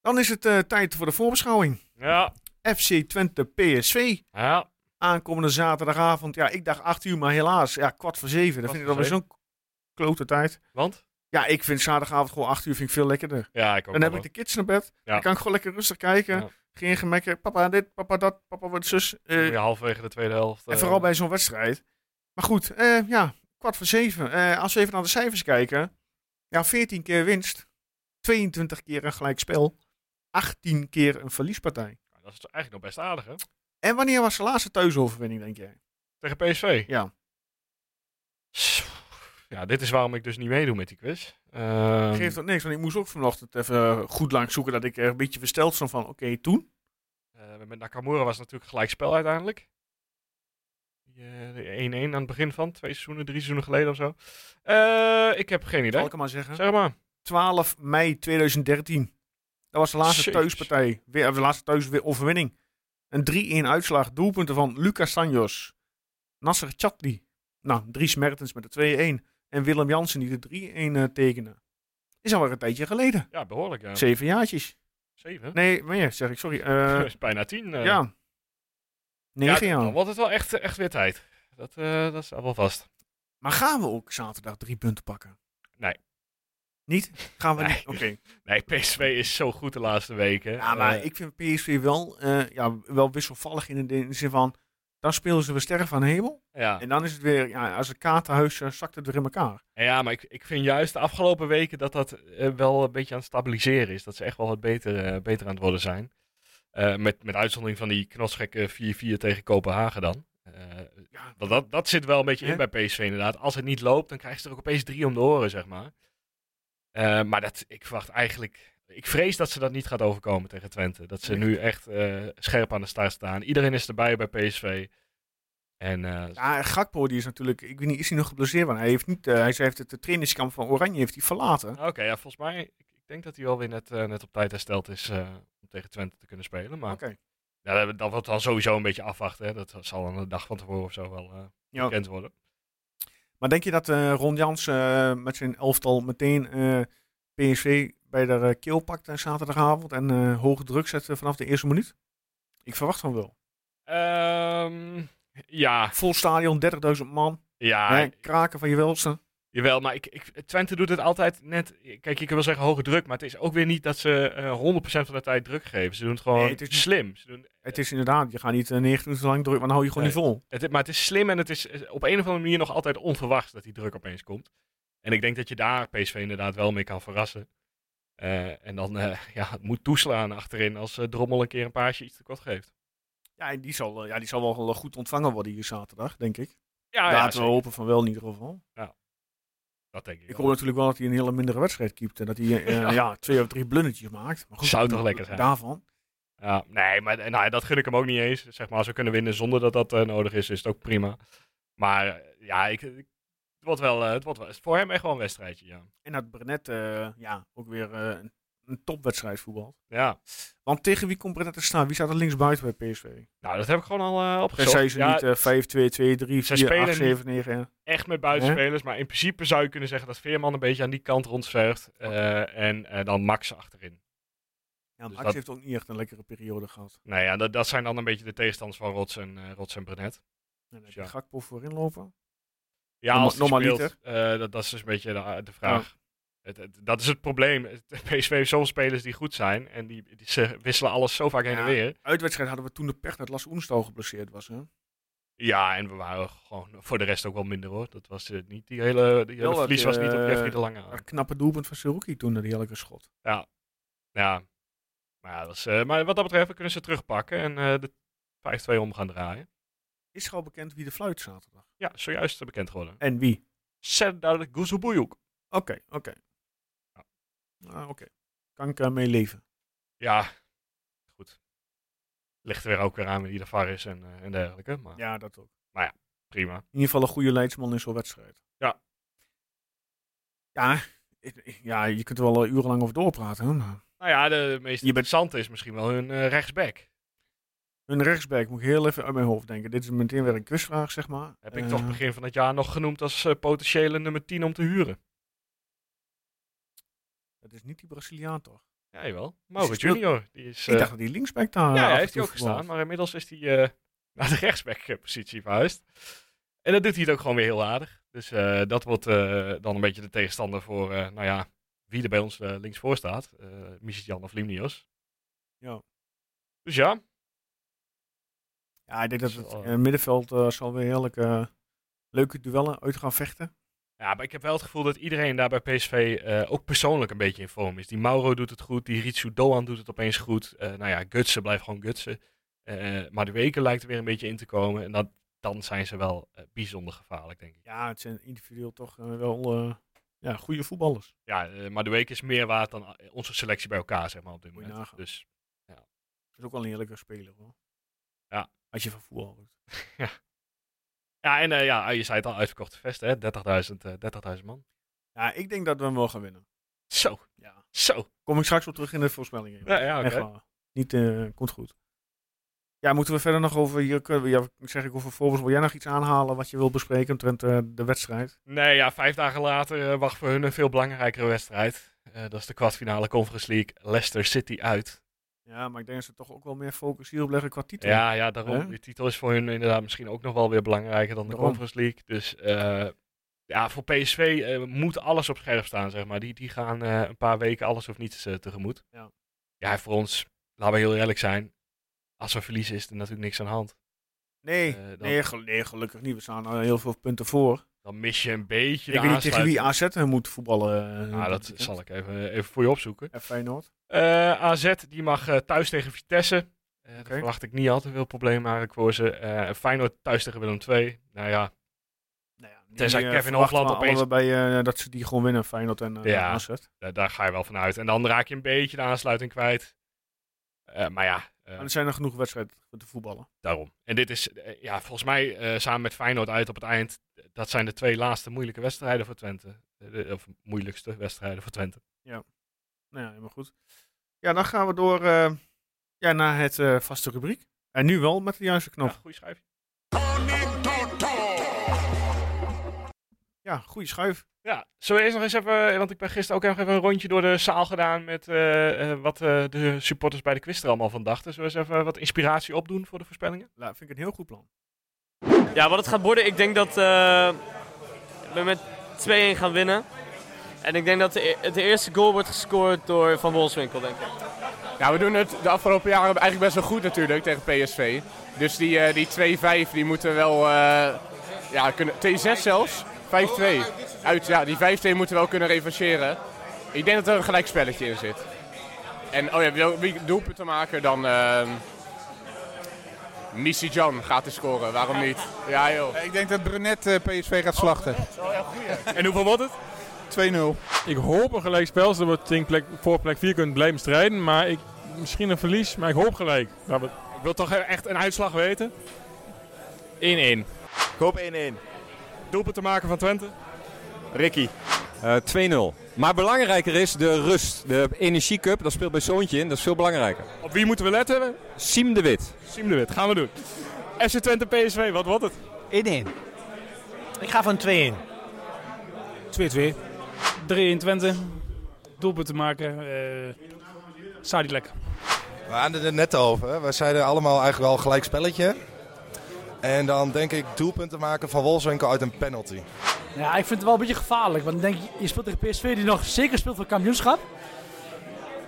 Dan is het eh, tijd voor de voorbeschouwing.
Ja.
FC Twente PSV.
Ja.
Aankomende zaterdagavond. Ja, ik dacht 8 uur, maar helaas. Ja, kwart voor zeven. Dat
Kwart
vind ik
voor
dan weer zo'n
zeven.
klote tijd.
Want?
Ja, ik vind zaterdagavond gewoon 8 uur vind ik veel lekkerder.
Ja, ik ook
Dan
wel,
heb ik de
hoor.
kids naar bed.
Ja.
Dan kan ik gewoon lekker rustig kijken.
Ja.
Geen gemekken. Papa dit, papa dat, papa wordt zus. Eh,
Moet je halverwege de tweede helft.
en
eh,
vooral bij zo'n wedstrijd. Maar goed, eh, ja, kwart voor zeven. Eh, als we even naar de cijfers kijken. Ja, 14 keer winst. 22 keer een gelijkspel. 18 keer een verliespartij.
Dat is eigenlijk nog best aardig, hè?
En wanneer was de laatste thuisoverwinning, denk jij?
Tegen PSV.
Ja.
Ja, dit is waarom ik dus niet meedoe met die quiz. Ehm,
Geeft dat niks, want ik moest ook vanochtend even eh, goed lang zoeken dat ik er een beetje versteld stond van, oké, toen?
eh, met Nakamura was het natuurlijk gelijk spel uiteindelijk. Die, eh, de 1-1 aan het begin van. Twee seizoenen, drie seizoenen geleden of zo. Eh, ik heb geen idee.
Zal ik hem maar zeggen?
Zeg maar.
12 mei 2013. Dat was de laatste
Jezus.
thuispartij. Weer, of de laatste thuisoverwinning. Een 3-1 uitslag. Doelpunten van Lucas Sanjos. Nasser Chatli. Nou, Dries Mertens met de 2-1. En Willem Jansen die de 3-1 eh, tekende. Is alweer een tijdje geleden.
Ja, behoorlijk, ja.
Zeven jaartjes.
Zeven?
Nee, meer zeg ik, sorry.
Dat
Eh
is bijna tien. eh.
ja. Negen
ja,
jaar.
Dan wordt het wel echt, echt weer tijd. Dat, eh, dat staat wel vast.
Maar gaan we ook zaterdag drie punten pakken?
Nee.
Niet? Gaan we
Nee.
niet? Oké.
Nee, PSV is zo goed de laatste weken.
Ja, maar
Eh,
ik vind PSV wel, eh, ja, wel wisselvallig in de, in de zin van... Dan spelen ze weer sterren van hemel.
Ja.
En dan is het weer, ja, als een kaartenhuis eh, zakt het weer in elkaar.
Ja, maar ik, ik vind juist de afgelopen weken dat dat eh, wel een beetje aan het stabiliseren is. Dat ze echt wel wat beter, eh, beter aan het worden zijn. Eh, met, met uitzondering van die knotsgekke 4-4 tegen Kopenhagen dan. Eh, Want dat, dat zit wel een beetje in bij PSV inderdaad. Als het niet loopt, dan krijgen ze er ook opeens drie om de oren, zeg maar. Eh, maar dat, ik verwacht eigenlijk... Ik vrees dat ze dat niet gaat overkomen tegen Twente. Dat ze nu echt eh, scherp aan de start staan. Iedereen is erbij bij PSV. En eh,
Ja, en Gakpo die is natuurlijk, ik weet niet, is hij nog geblesseerd? Want hij heeft niet, eh, hij zei, heeft het de trainingskamp van Oranje heeft hij verlaten.
Oké, ja, volgens mij. Ik, ik denk dat hij wel weer net, eh, net op tijd hersteld is eh, om tegen Twente te kunnen spelen. Maar
Oké.
ja, dat, dat wordt dan sowieso een beetje afwachten. Hè. Dat zal dan een dag van tevoren of zo wel eh,
Ja.
bekend worden.
Maar denk je dat eh, Ron Jans eh, met zijn elftal meteen eh, PSV bij de eh, keel pakt eh, zaterdagavond en eh, hoge druk zet eh, vanaf de eerste minuut? Ik verwacht van wel.
Ehm, ja,
Vol stadion, 30.000 man.
Ja.
Hè, kraken van je welste.
Jawel, maar ik, ik, Twente doet het altijd net. Kijk, ik wil zeggen hoge druk, maar het is ook weer niet dat ze eh, 100% van de tijd druk geven. Ze doen het gewoon
Nee, het is niet-
slim. Ze doen,
Het is inderdaad, je gaat niet eh, 90 minuten lang druk, maar dan hou je gewoon
Nee.
niet vol.
het, maar het is slim en het is eh, op een of andere manier nog altijd onverwachts dat die druk opeens komt. En ik denk dat je daar PSV inderdaad wel mee kan verrassen. Eh, en dan eh, ja, het moet toeslaan achterin als eh, Drommel een keer een paasje iets tekort geeft.
Ja, en die zal, eh, ja, die zal wel eh, goed ontvangen worden hier zaterdag, denk ik.
Ja, ja,
Laten
zeker.
we hopen van wel in ieder geval.
Ja. Dat denk ik.
Ik
wel.
hoop natuurlijk wel dat hij een hele mindere wedstrijd keept. En dat hij eh,
Ja.
ja. twee of drie blundertjes maakt. Maar goed,
Zou toch lekker zijn?
Daarvan.
Ja, nee, maar eh, nou, dat gun ik hem ook niet eens. Zeg maar, als we kunnen winnen zonder dat dat eh, nodig is, is het ook prima. Maar eh, ja, ik, ik- het, wordt wel, eh, het wordt wel het is voor hem echt wel een wedstrijdje. Ja.
En dat Brenet eh, ja, ook weer eh, een, een topwedstrijd voetbal.
ja.
Want tegen wie komt Brenet te staan? Wie staat er linksbuiten bij PSV?
Nou, dat heb ik gewoon al eh, opgezocht.
Zijn ze
Ja,
niet eh, 5, 2, 2, 3,
Ze
4,
spelen
8, 7,
niet
9? hè?
echt met buitenspelers, maar in principe zou je kunnen zeggen dat Veerman een beetje aan die kant rondzwerft. eh, en eh, dan Max achterin.
Ja, Max
Dus dat-
heeft ook niet echt een lekkere periode gehad.
Nou ja, dat, dat zijn dan een beetje de tegenstanders van Rots en, eh Rots en Brenet.
En dan
Dus
heb je
ja.
Gakpo voorin lopen.
Ja,
Norma-
als die
normaliter.
speelt, eh, dat, dat is dus een beetje de, de vraag. Het, het- dat is het probleem. Het- PSV heeft zoveel spelers die goed zijn. En die, die, ze wisselen alles zo vaak heen en
Ja,
weer.
Uitwedstrijd hadden we toen de pech dat Las Oenstal geblesseerd was. Hè?
Ja, en we waren gewoon voor de rest ook wel minder hoor. Dat was eh, niet die hele, die hele
Wel dat,
verlies was niet op
eh,
Jeffrey de Lange. aan.
Dat knappe doelpunt van Seruki toen, dat heerlijke schot.
Ja. ja. Maar, ja, dat is, eh, maar wat dat betreft kunnen ze terugpakken en eh, de 5-2 om gaan draaien.
Is er al bekend wie de fluit zaterdag?
Ja, zojuist bekend geworden.
En wie?
Serdar Guzubuyuk.
Oké, oké. Ah, oké. Kan ik eh, mee leven?
Ja, goed. Ligt er weer ook weer aan wie de VAR is en, eh, en dergelijke. Maar,
Ja, dat ook.
maar ja, prima.
In ieder geval een goede leidsman in zo'n wedstrijd.
Ja.
Ja, ik- ja, je kunt er wel eh, urenlang over doorpraten. Hè? maar
Nou ja, de meest interessante is misschien wel hun eh, rechtsback.
Hun rechtsback moet ik heel even uit mijn hoofd denken. Dit is meteen weer een quizvraag, zeg maar.
Heb ik
Eh,
toch begin van het jaar nog genoemd als eh, potentiële nummer 10 om te huren.
Dat is niet die Braziliaan, toch?
Ja, jawel.
Mauro
Mauro Junior. Die is,
ik
eh,
dacht dat die linksback daar
ja,
af en
hij heeft
toe
hij ook
voetbalt.
gestaan, maar inmiddels is hij eh, naar de rechtsback-positie verhuisd. En dat doet hij het ook gewoon weer heel aardig. Dus eh, dat wordt eh, dan een beetje de tegenstander voor, eh, nou ja, wie er bij ons eh, linksvoor staat. eh Jan of Limnios.
Ja.
Dus ja,
Ja, ik denk dat het
Zo.
eh, middenveld eh, zal weer heerlijk eh, leuke duellen uit gaan vechten.
Ja, maar ik heb wel het gevoel dat iedereen daar bij PSV eh, ook persoonlijk een beetje in vorm is. Die Mauro doet het goed, die Ritsu Doan doet het opeens goed. Eh, nou ja, Gutsen blijft gewoon Gutsen. Eh, maar de weken lijkt er weer een beetje in te komen. En dat, dan zijn ze wel eh, bijzonder gevaarlijk, denk ik.
Ja, het zijn individueel toch eh, wel eh, ja, goede voetballers.
Ja, eh, maar de week is meer waard dan eh, onze selectie bij elkaar, zeg maar, op dit
Moet je
moment.
nagaan.
Dus
Dat is ook wel een heerlijke speler hoor.
Ja.
Als je van voetbal houdt.
ja, en eh, ja, je zei het al, uitverkochte vesten, hè? 30.000 eh, 30.000 man.
Ja, ik denk dat we hem wel gaan winnen.
Zo,
Ja.
zo.
Kom ik straks wel terug in de voorspellingen.
Ja, ja, oké.
Echt waar. Niet, eh, komt goed. Ja, moeten we verder nog over, hier kunnen we, ja, zeg ik over voorbeeld, wil jij nog iets aanhalen wat je wilt bespreken omtrent eh, de wedstrijd?
Nee, ja, vijf dagen later eh, wacht voor hun een veel belangrijkere wedstrijd. Eh, dat is de kwartfinale Conference League Leicester City uit.
Ja, maar ik denk dat ze toch ook wel meer focus hierop leggen qua titel.
Ja, ja, daarom.
Hè?
De titel is voor hun inderdaad misschien ook nog wel weer belangrijker dan de
Daarom.
Conference League. Dus eh, ja, voor PSV eh, moet alles op scherp staan, zeg maar. Die, die gaan eh, een paar weken alles of niets eh, tegemoet.
Ja.
ja, voor ons, laten we heel eerlijk zijn. Als we verliezen is er natuurlijk niks aan de hand.
Nee,
Eh, dan-
nee, gel- nee, gelukkig niet. We staan al heel veel punten voor.
Dan mis je een beetje
Ik
de
weet niet tegen wie
aansluiting.
AZ moet voetballen. eh,
Nou, dat
dit
zal
weekend.
ik even, even voor je opzoeken.
En Feyenoord.
Eh, AZ die mag eh, thuis tegen Vitesse. Eh Daar
Oké.
verwacht ik niet al te veel problemen eigenlijk voor ze. Eh, Feyenoord thuis tegen Willem II. Nou ja,
Nou ja, die,
Tenzij
eh,
Kevin
verwachten
Hofland
we
opeens-
allebei, eh, dat ze die gewoon winnen, Feyenoord en eh
Ja.
AZ.
Da- daar ga je wel van uit. En dan raak je een beetje de aansluiting kwijt. Eh, maar ja, eh,
Maar dus- er zijn nog genoeg wedstrijden voor te voetballen.
daarom. En dit is, eh, ja, volgens mij eh, samen met Feyenoord uit op het eind. Dat zijn de twee laatste moeilijke wedstrijden voor Twente. Eh, de- of moeilijkste wedstrijden voor Twente.
Nou ja, helemaal goed. Ja, dan gaan we door eh, ja, naar het eh, vaste rubriek. En nu wel met de juiste knop.
Ja, goeie schrijf.
Ja, Ja, goede schuif.
Ja, zo eerst nog eens even, eh, want ik ben gisteren ook nog even een rondje door de zaal gedaan met eh, eh, wat eh, de supporters bij de quiz er allemaal van dachten. Zullen we eens even wat inspiratie opdoen voor de voorspellingen?
Nou, vind ik een heel goed plan.
Ja, wat het gaat worden, ik denk dat eh, we met 2-1 gaan winnen. En ik denk dat de, e- de eerste goal wordt gescoord door Van Wolfswinkel, denk ik.
Nou, we doen het de afgelopen jaren eigenlijk best wel goed natuurlijk tegen PSV. Dus die, eh, die 2-5 die moeten wel, eh, ja, kunnen, 2-6 zelfs, 5-2. Uit, ja, die 5-2 moeten we wel kunnen revancheren. Ik denk dat er een gelijk spelletje in zit. En oh ja, wil- wie doelpunten maken dan... ehm Missy Jan gaat er scoren, waarom niet? Ja joh.
Ik denk dat Brunet eh, PSV gaat slachten.
En hoeveel wordt het?
2-0.
Ik hoop een gelijk spel, zodat we tegen plek, voor plek 4 kunnen blijven strijden. Maar ik, misschien een verlies, maar ik hoop gelijk. ik wil toch echt een uitslag weten.
1-1. Ik
hoop 1-1. Doelpunt te maken van Twente.
Ricky. 2-0. Maar belangrijker is de rust. De Energie Cup, dat speelt bij Zoontje in. Dat is veel belangrijker.
Op wie moeten we letten?
Siem de Wit.
Siem de Wit, gaan we doen. FC Twente PSV, wat wordt het?
1-1. Ik ga van 2-1.
2-2. 3-1 Twente. Doelpunt te maken. eh Sadilek.
We hadden het net over. hè. We zeiden allemaal eigenlijk al gelijk spelletje. En dan denk ik doelpunten maken van Wolfswinkel uit een penalty.
Ja, ik vind het wel een beetje gevaarlijk. Want ik denk, je speelt tegen PSV die nog zeker speelt voor kampioenschap.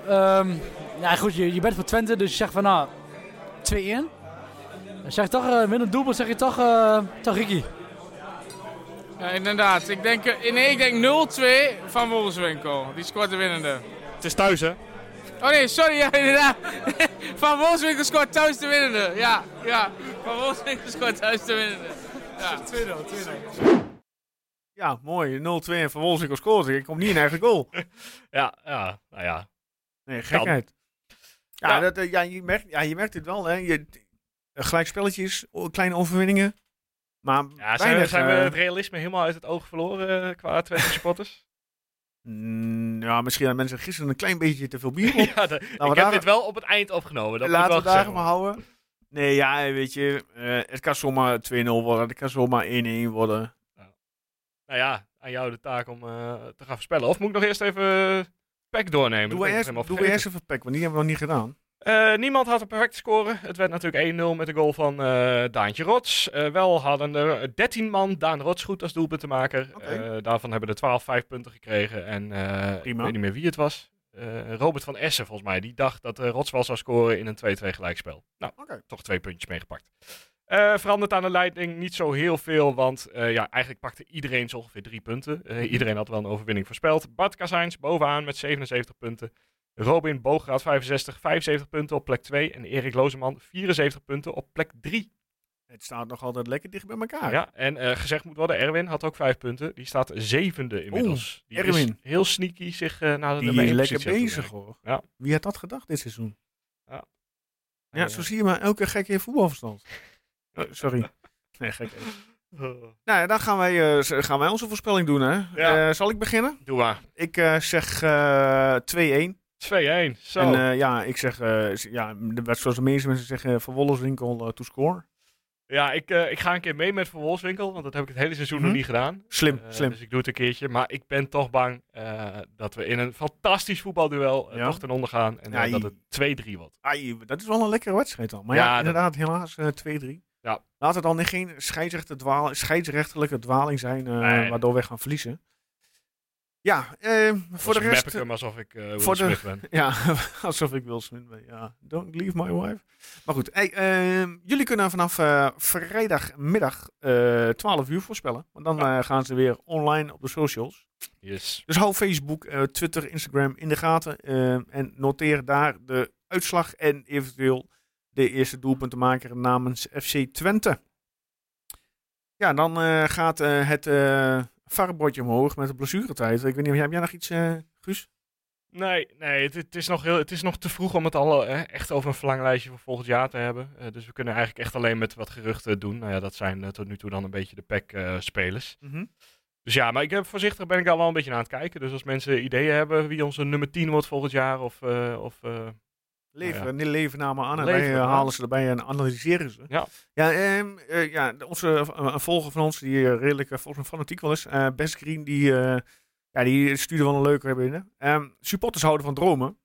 Ehm ja, goed, je, je bent voor Twente, dus je zegt van nou, 2-1. Dan zeg je toch, eh, met een doelpunt zeg je toch, eh, toch Ricky.
Ja, inderdaad. Ik denk, eh, nee, ik denk 0-2 van Wolfswinkel. Die scoort de winnende.
Het is thuis, hè?
Oh nee, sorry, ja, inderdaad. Van Wolfswinkel scoort thuis de winnende. Ja, ja. Van Wolfswinkel scoort thuis de winnende. Ja. 2-0, 2-0.
Ja, mooi. 0-2 en Van Wolfswinkel scoort. Ik kom niet in eigen goal.
ja, ja, nou ja.
Nee, gekheid. Ja, Dat, eh, ja, je merkt, ja, je merkt het wel. Hè. Je, eh, gelijkspelletjes, o- kleine overwinningen. Maar
Ja, zijn, we,
weinig,
zijn we
eh,
het realisme helemaal uit het oog verloren eh, qua Twente supporters?
mm, ja, misschien hadden mensen gisteren een klein beetje te veel bier op.
ja,
Laten
de-
we
ik heb
daar-
dit wel op het eind opgenomen. Dat
Laten
moet
we
wel gezegd
daar maar houden. Nee, ja, weet je. eh, het kan zomaar 2-0 worden. Het kan zomaar 1-1 worden.
Nou ja, aan jou de taak om eh, te gaan voorspellen. Of moet ik nog eerst even eh, pack doornemen?
Doen
Dat
we
ben
eerst,
ik nog helemaal
doen we eerst
vergeten.
even pack, want die hebben we nog niet gedaan.
Eh, niemand had een perfecte score. Het werd natuurlijk 1-0 met de goal van eh, Daantje Rots. Eh, wel hadden er 13 man Daan Rots goed als doelpuntenmaker. Eh, daarvan hebben er 12 vijf punten gekregen. En eh, ik weet niet meer wie het was. Eh, Robert van Essen, volgens mij. Die dacht dat eh, Rots wel zou scoren in een 2-2 gelijkspel. Nou, toch twee puntjes meegepakt. Eh, verandert aan de leiding niet zo heel veel, want eh, ja, eigenlijk pakte iedereen zo ongeveer drie punten.
Mhm.
Eh, iedereen had wel een overwinning voorspeld. Bart Kazijns bovenaan met 77 punten. Robin Boograat 65, 75 punten op plek 2. En Erik Lozeman 74 punten op plek 3.
Het staat nog altijd lekker dicht bij elkaar.
Ja, en eh, gezegd moet worden, Erwin had ook 5 punten. Die staat zevende inmiddels.
Oeh,
Die is
Erwin.
heel sneaky zich eh, naar de
Die
nummer
is
één
lekker
positie aan toe
bezig,
werken.
hoor.
Ja.
Wie had dat gedacht dit seizoen?
Ja. Eh.
Ja, zo zie je maar elke gek heeft voetbalverstand. Eh, sorry. Nee, gek.
Nou
ja, dan gaan wij, eh, z- gaan wij onze voorspelling doen, hè? Eh, zal ik beginnen?
Doe maar.
Ik eh, zeg eh 2-1.
2-1, zo.
En eh, ja, ik zeg, eh, z- ja, de werd zoals de meeste mensen zeggen, van Wollerswinkel eh, to score.
Ja, ik, eh, ik ga een keer mee met Van Wolfswinkel, want dat heb ik het hele seizoen
Mhm.
nog niet gedaan.
Slim,
Eh,
slim.
Dus ik doe het een keertje. Maar ik ben toch bang eh, dat we in een fantastisch voetbalduel eh,
Ja?
toch ten onder gaan. En eh,
Ai.
dat het 2-3 wordt.
Ai, Ah, dat is wel een lekkere wedstrijd dan. Maar ja,
Ja, dat-
inderdaad, helaas eh, 2-3.
Ja.
Laat het dan geen scheidsrechter dwaal- scheidsrechterlijke dwaling zijn, eh,
Nee.
waardoor we gaan verliezen. Ja, eh, voor de
Dus map
rest...
ik hem alsof ik, eh, Will
voor de-
Smith ben.
Ja, alsof ik Will Smith ben. Ja, don't leave my wife. Maar goed, hey, ehm, jullie kunnen vanaf eh, vrijdagmiddag eh 12 uur voorspellen. Want dan eh, gaan ze weer online op de socials.
Yes.
Dus hou Facebook, eh, Twitter, Instagram in de gaten. eh, en noteer daar de uitslag en eventueel de eerste doelpuntenmaker namens FC Twente. Ja, dan eh, gaat eh, het eh varbordje omhoog met de blessuretijd. Ik weet niet, heb jij nog iets, eh, Guus?
Nee, nee het, het is nog heel, het is nog te vroeg om het al eh, echt over een verlanglijstje voor volgend jaar te hebben. Eh, dus we kunnen eigenlijk echt alleen met wat geruchten doen. Nou ja, dat zijn eh, tot nu toe dan een beetje de pack-spelers.
Mhm.
eh, Dus ja, maar ik heb, voorzichtig ben ik al wel een beetje aan het kijken. Dus als mensen ideeën hebben wie onze nummer 10 wordt volgend jaar of, eh, of eh,
Leven,
Ja.
nee, leven namen aan en
Leveren,
wij eh,
ja.
halen ze erbij en analyseren ze.
Ja.
Ja, ehm, eh, ja onze eh, een volger van ons, die eh, redelijk eh, volgens mij fanatiek wel is, eh Best Green, die, eh, ja, die stuurde wel een leuke binnen. Ehm, supporters houden van dromen.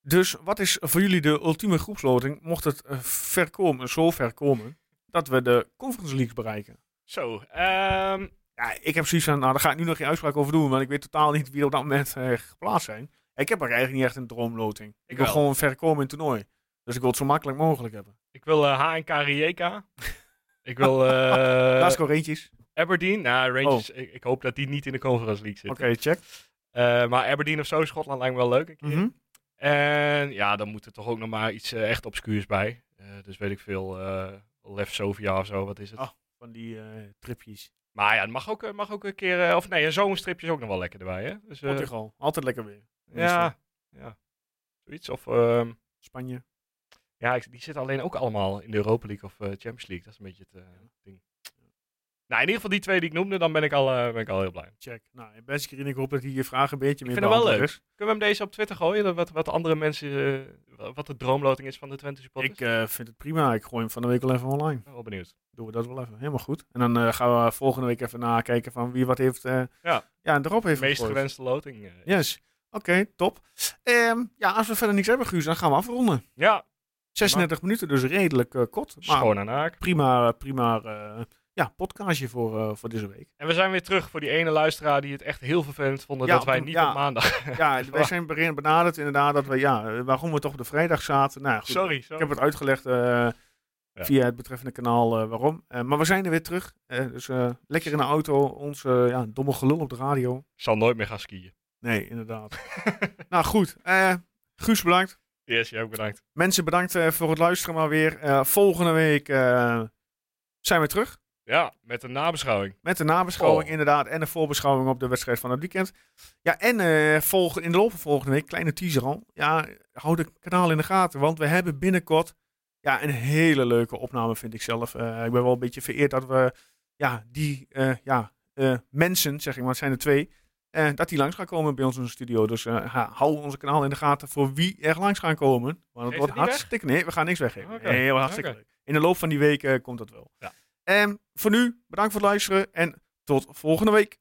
Dus wat is voor jullie de ultieme groepsloting, mocht het eh, ver komen, zo ver komen, dat we de Conference League bereiken?
Zo, ehm,
Ja, ik heb zoiets van, nou daar ga ik nu nog geen uitspraak over doen, want ik weet totaal niet wie er op dat moment eh, geplaatst zijn. Ik heb er eigenlijk niet echt een droomloting. Ik, wil
wel.
gewoon ver komen in het toernooi. Dus ik wil het zo makkelijk mogelijk hebben.
ik wil eh, HNK Rijeka. ik wil... eh
Glasgow Rangers.
Aberdeen. Nou, Rangers, ik, ik hoop dat die niet in de Conference League zitten.
Oh. Oké, check.
Eh, maar Aberdeen of zo, Schotland lijkt me wel leuk. een keer.
Mhm.
En ja, dan moet er toch ook nog maar iets eh, echt obscuurs bij. Eh, dus weet ik veel, eh Lef Sofia of zo, wat is het?
Ah, van die eh, tripjes.
Maar ja, het mag ook, eh, mag ook een keer... eh, of nee, een zomerstripje is ook nog wel lekker erbij, hè? Dus, eh,
Portugal, altijd lekker weer.
Ja, ja. Zoiets. Of ehm,
Spanje.
Ja, ik- die zitten alleen ook allemaal in de Europa League of eh, Champions League. Dat is een beetje het eh, ding. Nou, in ieder geval die twee die ik noemde, dan ben ik al, eh, ben ik al heel blij.
Check. Nou, en best Green, ik hoop dat hij je vragen een beetje
Ik
meer
vind hem wel leuk.
beantwoord is.
Kunnen we hem deze op Twitter gooien? Dat Wat, wat andere mensen, eh, wa- wat de droomloting is van de Twente supporters?
Ik eh, vind het prima. Ik gooi hem van de week wel even online.
ben wel benieuwd.
Doen we dat wel even. Helemaal goed. En dan eh, gaan we volgende week even nakijken van wie wat heeft... eh,
Ja.
ja, en erop heeft
meest
gegooid.
gewenste loting. eh.
Yes. Oké, top. Ehm, ja, als we verder niks hebben, Guus, dan gaan we afronden.
Ja.
36 minuten, dus redelijk eh, kort. Maar
Schoon aan haak.
Prima, prima eh, ja, podcastje voor, eh, voor deze week.
En we zijn weer terug voor die ene luisteraar die het echt heel vervelend vond
Ja,
dat wij
op-
niet
ja.
op maandag...
Ja, wij zijn berin- benaderd inderdaad dat we, ja, eh, waarom we toch op de vrijdag zaten. Nou, ja, goed,
Sorry,
Ik
sorry.
heb het uitgelegd eh, via het betreffende kanaal eh, waarom. Eh, maar we zijn er weer terug. Eh, dus eh, lekker in de auto, ons eh, ja, domme gelul op de radio.
zal nooit meer gaan skiën.
Nee, inderdaad. nou goed, eh, Guus bedankt.
Yes, jij ook bedankt.
Mensen, bedankt eh, voor het luisteren maar weer. Eh, volgende week eh, zijn we terug
Ja, met een nabeschouwing.
met de nabeschouwing
Oh.
inderdaad en de voorbeschouwing op de wedstrijd van het weekend. Ja, en eh, volg, in de loop van volgende week, kleine teaser al, ja, houd het kanaal in de gaten, want we hebben binnenkort ja, een hele leuke opname, vind ik zelf. Eh, ik ben wel een beetje vereerd dat we ja, die eh, ja, eh, mensen, zeg ik maar, het zijn er twee, eh, dat die langs gaan komen bij ons in de studio. Dus eh, ha- hou onze kanaal in de gaten voor wie er langs gaan komen. Want het
het
wordt
niet weg?
hartstikke... Nee, we gaan niks weggeven.
Oké.
Nee, heel hartstikke
Oké.
leuk. In Ehm, de loop van die week eh, komt dat wel. En voor nu, bedankt voor het luisteren en tot volgende week.